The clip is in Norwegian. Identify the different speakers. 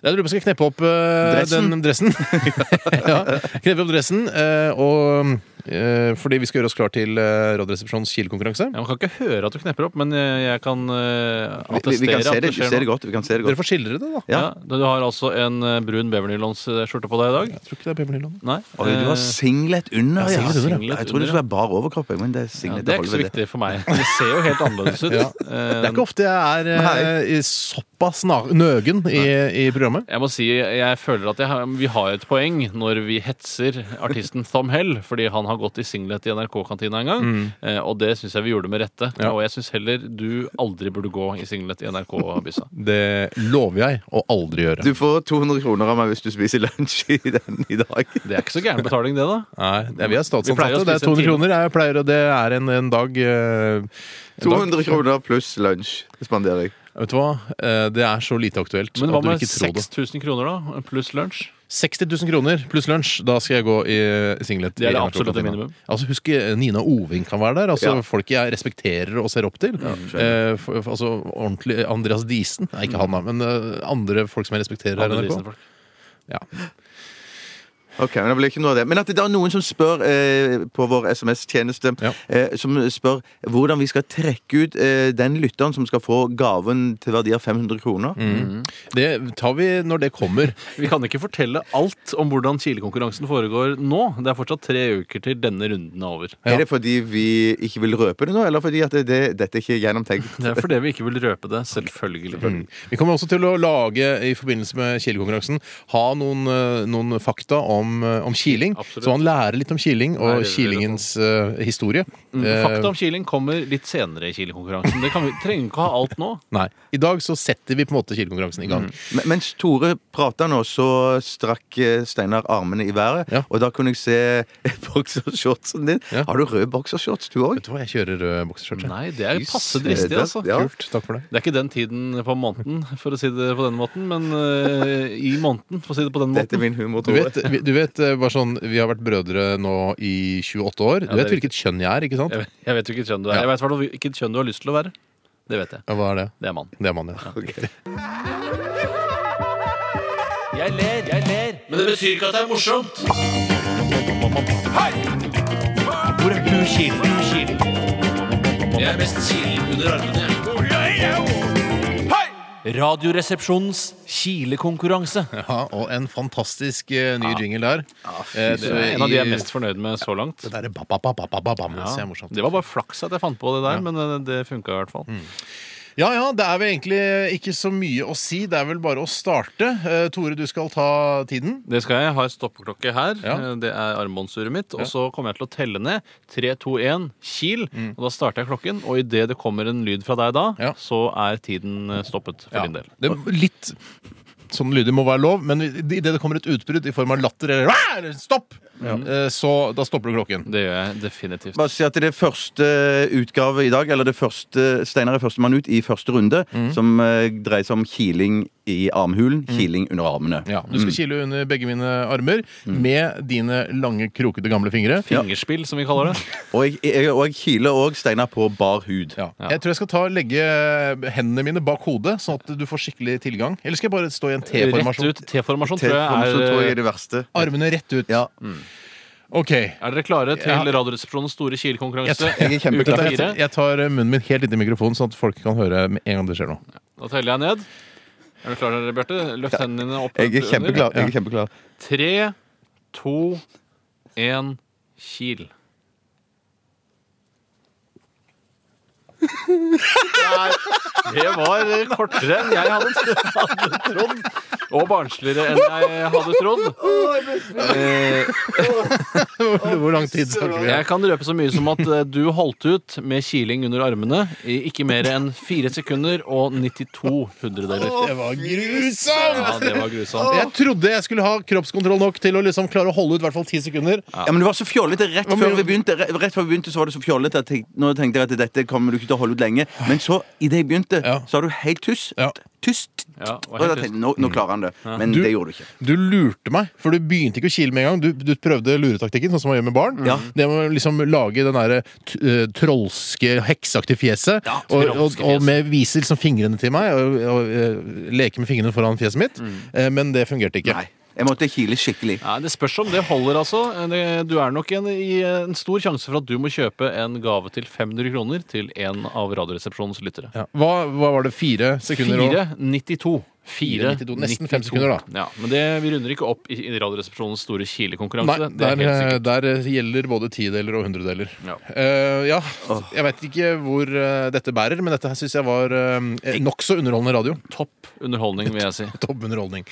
Speaker 1: Jeg tror vi skal kneppe opp eh,
Speaker 2: Dressen.
Speaker 1: den dressen. ja, kneppe opp dressen, eh, og, eh, fordi vi skal gjøre oss klar til eh, Radioresepsjonens Kiel-konkurranse.
Speaker 3: Ja, man kan ikke høre at du knepper opp, men eh, jeg kan eh,
Speaker 2: Vi, vi,
Speaker 3: attestere
Speaker 2: vi kan se
Speaker 3: at
Speaker 2: det,
Speaker 3: det
Speaker 2: vi
Speaker 3: skjer
Speaker 2: ser det
Speaker 3: noe.
Speaker 2: godt. Vi kan se det
Speaker 1: Dere
Speaker 2: godt.
Speaker 1: får skildre det, da.
Speaker 2: Ja.
Speaker 3: Ja. du har altså en eh, brun Beverly-skjorte på deg i dag.
Speaker 1: Jeg tror ikke det er Pebernilland.
Speaker 3: Nei.
Speaker 2: Oi, du har
Speaker 3: eh,
Speaker 2: singlet under,
Speaker 3: Jeg
Speaker 2: ja.
Speaker 3: har singlet under, ja.
Speaker 2: Jeg trodde det skulle være bar overkropp. jeg, Men det er
Speaker 3: ja,
Speaker 2: singlet.
Speaker 3: det er ikke så
Speaker 2: holder vel det.
Speaker 3: viktig for meg. Det ser jo helt annerledes ut.
Speaker 1: Ja.
Speaker 3: Eh,
Speaker 1: Det er ikke ofte jeg er eh, i såpass na- nøgen i, i programmet.
Speaker 3: Eh, Jeg må si, jeg føler at jeg har, vi har et poeng når vi hetser artisten Thom Hell, fordi han har gått i singlet i NRK-kantina en gang,
Speaker 2: Mm.
Speaker 3: eh, og det syns jeg vi gjorde med rette.
Speaker 1: Ja.
Speaker 3: Og jeg syns heller du aldri burde gå i singlet i NRK-byssa.
Speaker 1: Det lover jeg å aldri gjøre.
Speaker 2: Du får 200 kroner av meg hvis du spiser lunsj i den i dag.
Speaker 3: Det er ikke så gæren betaling, det, da.
Speaker 1: Nei, det er, vi er
Speaker 3: Vi pleier å
Speaker 1: statsansatte. Det er
Speaker 3: spise en
Speaker 1: 200
Speaker 3: time.
Speaker 1: kroner. Jeg pleier, og det er en, en dag eh, en dag-
Speaker 2: 200 kroner pluss lunsj spanderer jeg.
Speaker 1: Vet du hva? Eh, Det er så lite aktuelt
Speaker 3: Men hva
Speaker 1: at du
Speaker 3: med
Speaker 1: ikke tror det.
Speaker 3: 6000 kroner, da? Pluss lunsj?
Speaker 1: 60 000 kroner pluss lunsj, da skal jeg gå i singlet.
Speaker 3: Det er
Speaker 1: i
Speaker 3: det
Speaker 1: NRK
Speaker 3: absolutte
Speaker 1: kantina.
Speaker 3: minimum.
Speaker 1: Altså, Husk eh, Nina Oving kan være der. altså
Speaker 2: Ja.
Speaker 1: Folk jeg respekterer og ser opp til. eh, f- f- altså ordentlig Andreas Diesen. Nei, ikke han, da, men eh, andre folk som jeg respekterer her i NRK.
Speaker 3: Andre Disney-folk.
Speaker 2: Ok, Men det blir ikke noe av det Men at det er noen som spør eh, på vår SMS-tjeneste
Speaker 1: Ja.
Speaker 2: eh, Som spør hvordan vi skal trekke ut eh, den lytteren som skal få gaven til verdi av 500 kroner.
Speaker 3: Mm.
Speaker 1: Mm. Det tar vi når det kommer.
Speaker 3: Vi kan ikke fortelle alt om hvordan Chile-konkurransen foregår nå. Det er fortsatt tre uker til denne runden er over.
Speaker 1: Ja.
Speaker 2: Er det fordi vi ikke vil røpe det nå, eller fordi at det, det, dette ikke er gjennomtenkt?
Speaker 3: Det er fordi vi ikke vil røpe det, selvfølgelig. Mm.
Speaker 1: Vi kommer også til å lage i forbindelse med Kiel-konkurransen ha noen, eh, noen fakta om, eh, om kiling.
Speaker 3: Absolutt.
Speaker 1: Så man lærer litt om kiling og
Speaker 3: Lærer litt om- Mm,
Speaker 1: kilingens eh, historie. Eh,
Speaker 3: Fakta om kiling kommer litt senere i Chile-konkurransen. Det kan vi trenger ikke å ha alt nå.
Speaker 1: Nei. I dag så setter vi på en måte Kiel-konkurransen i gang.
Speaker 2: Men- Mens Tore prata nå, så strakk eh, Steinar armene i været.
Speaker 1: Ja.
Speaker 2: Og da kunne jeg se boksershortsen din.
Speaker 1: Ja.
Speaker 2: Har du rød boksershorts, du òg?
Speaker 1: Vet du hva, jeg kjører rød bokserskjørt. jeg.
Speaker 3: Nei, det er passe
Speaker 2: søren.
Speaker 3: dristig, altså.
Speaker 2: Ja.
Speaker 1: Kult. Takk for det.
Speaker 3: Det er ikke den tiden på måneden, for å si det på den måten, men eh, i måneden, for å si det på den
Speaker 2: Dette
Speaker 3: måten.
Speaker 2: er min humor,
Speaker 1: Du
Speaker 2: Tore.
Speaker 1: vet, vi- du vet eh, bare sånn, Vi har vært brødre nå i 28 år. Du
Speaker 3: Ja, det
Speaker 1: vet
Speaker 3: er
Speaker 1: hvilket kjønn jeg er, ikke sant?
Speaker 3: Jeg vet- jeg vet jo hvilket kjønn du er.
Speaker 1: Ja.
Speaker 3: Jeg vet hvertfall hvilket kjønn du har lyst til å være. Det vet jeg.
Speaker 1: Ja, Hva er det?
Speaker 3: Det er mann.
Speaker 1: Det er man, ja.
Speaker 3: Jeg ler, jeg ler, men det betyr ikke at det er morsomt. Hvor er du kilen? Du kilen. Jeg er mest kilen under armene. Radioresepsjonens kilekonkurranse.
Speaker 1: ja. Og en fantastisk eh, ny jingle der. Eh,
Speaker 3: Det er en av de jeg er mest fornøyd med så langt.
Speaker 1: Det derre ba-ba-ba-ba-ba-bam.
Speaker 3: Ja,
Speaker 1: Det er morsomt.
Speaker 3: det var bare flaks at jeg fant på det der, men eh, det funka i hvert fall.
Speaker 1: Ja ja, det er vel egentlig ikke så mye å si. Det er vel bare å starte. Eh, Tore, du skal ta tiden.
Speaker 3: Det skal jeg. Jeg har stoppeklokke her.
Speaker 1: Ja.
Speaker 3: Eh, Det er armbåndsuret mitt. Og så kommer jeg til å telle ned. 3, 2, 1, kil.
Speaker 2: Mm.
Speaker 3: Og da starter jeg klokken. Og idet det kommer en lyd fra deg da,
Speaker 1: Ja.
Speaker 3: så er tiden eh, stoppet for din del.
Speaker 1: Det, litt sånn lyder må være lov, men idet det kommer et utbrudd i form av latter eller, "Wah!" eller stopp, eh, så da stopper du klokken.
Speaker 3: Det gjør jeg definitivt.
Speaker 2: Bare si at det er første eh, utgave i dag, eller det første Steinar er førstemann ut i første runde,
Speaker 1: Mhm.
Speaker 2: som eh, dreier seg om kiling i armhulen, kiling under armene.
Speaker 1: Ja, Mm. du skal kile under begge mine armer med dine lange, krokete, gamle fingre.
Speaker 3: Fingerspill, som vi kaller det.
Speaker 2: Og jeg, jeg, og jeg kiler òg Steinar på bar hud.
Speaker 1: Ja. Jeg tror jeg skal ta, legge hendene mine bak hodet, sånn at du får skikkelig tilgang. Eller skal jeg bare stå i en
Speaker 3: Rett
Speaker 1: T-formasjon?
Speaker 3: ut. T-formasjon tror
Speaker 2: Telefonen så tror jeg er
Speaker 3: jeg er
Speaker 2: det verste.
Speaker 1: Armene rett ut.
Speaker 2: Ja.
Speaker 3: Mm.
Speaker 1: OK.
Speaker 3: Er dere klare til
Speaker 1: Ja.
Speaker 3: Radioresepsjonens store kilkonkurranse?
Speaker 2: Jeg er
Speaker 3: Uke
Speaker 2: kjempeklar.
Speaker 1: Jeg
Speaker 3: fire.
Speaker 1: tar- jeg tar munnen min helt inntil mikrofonen, sånn at folk kan høre med en gang det skjer noe.
Speaker 3: Da teller jeg ned. Er dere klare, Bjarte? Løft hendene dine opp.
Speaker 2: Jeg er
Speaker 3: under.
Speaker 2: kjempeklar. Jeg er kjempeklar.
Speaker 3: Tre, to, én, kil. Nei, det var kortere enn jeg hadde trodd. Og barnsligere enn jeg hadde trodd.
Speaker 1: Hvor lang tid snakker vi?
Speaker 3: Jeg kan røpe så mye som at eh, du holdt ut med kiling under armene i ikke mer enn 4 sekunder og 92 hundredeler.
Speaker 1: Det var grusomt!
Speaker 3: Ja, det var grusomt.
Speaker 1: Jeg trodde jeg skulle ha kroppskontroll nok til å liksom klare å holde ut i hvert fall ti sekunder.
Speaker 2: Ja, men du var så fjollete rett
Speaker 1: Hva
Speaker 2: før
Speaker 1: mener
Speaker 2: vi begynte. Re- Rett før vi begynte så var det så fjollete at jeg, Nå tenkte jeg at dette kommer du ikke til å holde ut lenge. Men så, idet jeg begynte,
Speaker 1: Ja.
Speaker 2: så har du helt tyst.
Speaker 1: Ja. Mm.
Speaker 2: tyst.
Speaker 3: Ja, det
Speaker 2: Og
Speaker 3: var helt
Speaker 2: da tenkte jeg, nå, nå klarer han det. Men
Speaker 1: Du-
Speaker 2: det gjorde du ikke.
Speaker 1: Du lurte meg, for du begynte ikke å kile med en gang. Du, du prøvde luretaktikken, sånn som man gjør med barn.
Speaker 2: Ja.
Speaker 1: Det med å liksom lage den derre t- eh, trolske, hekseaktige fjeset.
Speaker 3: Ja,
Speaker 1: og, og,
Speaker 3: trolske fjes.
Speaker 1: og med viser liksom fingrene til meg, og, og eh, leke med fingrene foran fjeset mitt.
Speaker 3: Mm.
Speaker 1: Eh, Men det fungerte ikke.
Speaker 2: Nei. Jeg måtte kile skikkelig.
Speaker 3: Nei, Det spørs om det holder, altså. Det, du er nok en, i en stor sjanse for at du må kjøpe en gave til 500 kroner til en av Radioresepsjonens lyttere.
Speaker 1: Ja. Hva, hva var det? Fire sekunder? og-
Speaker 3: 4,92.
Speaker 1: 4,92. Nesten fem
Speaker 3: 4,92.
Speaker 1: sekunder, da.
Speaker 3: Ja, men det, vi runder ikke opp i i Radioresepsjonens store kilekonkurranse.
Speaker 1: Nei, eh,
Speaker 3: Det er helt
Speaker 1: der,
Speaker 3: sikkert.
Speaker 1: der gjelder både tideler og hundredeler.
Speaker 3: Ja.
Speaker 1: Eh, ja. Jeg vet ikke hvor eh, dette bærer, men dette syns jeg var uh, nokså eh, underholdende radio.
Speaker 3: Topp underholdning, vil jeg si.
Speaker 1: Topp underholdning.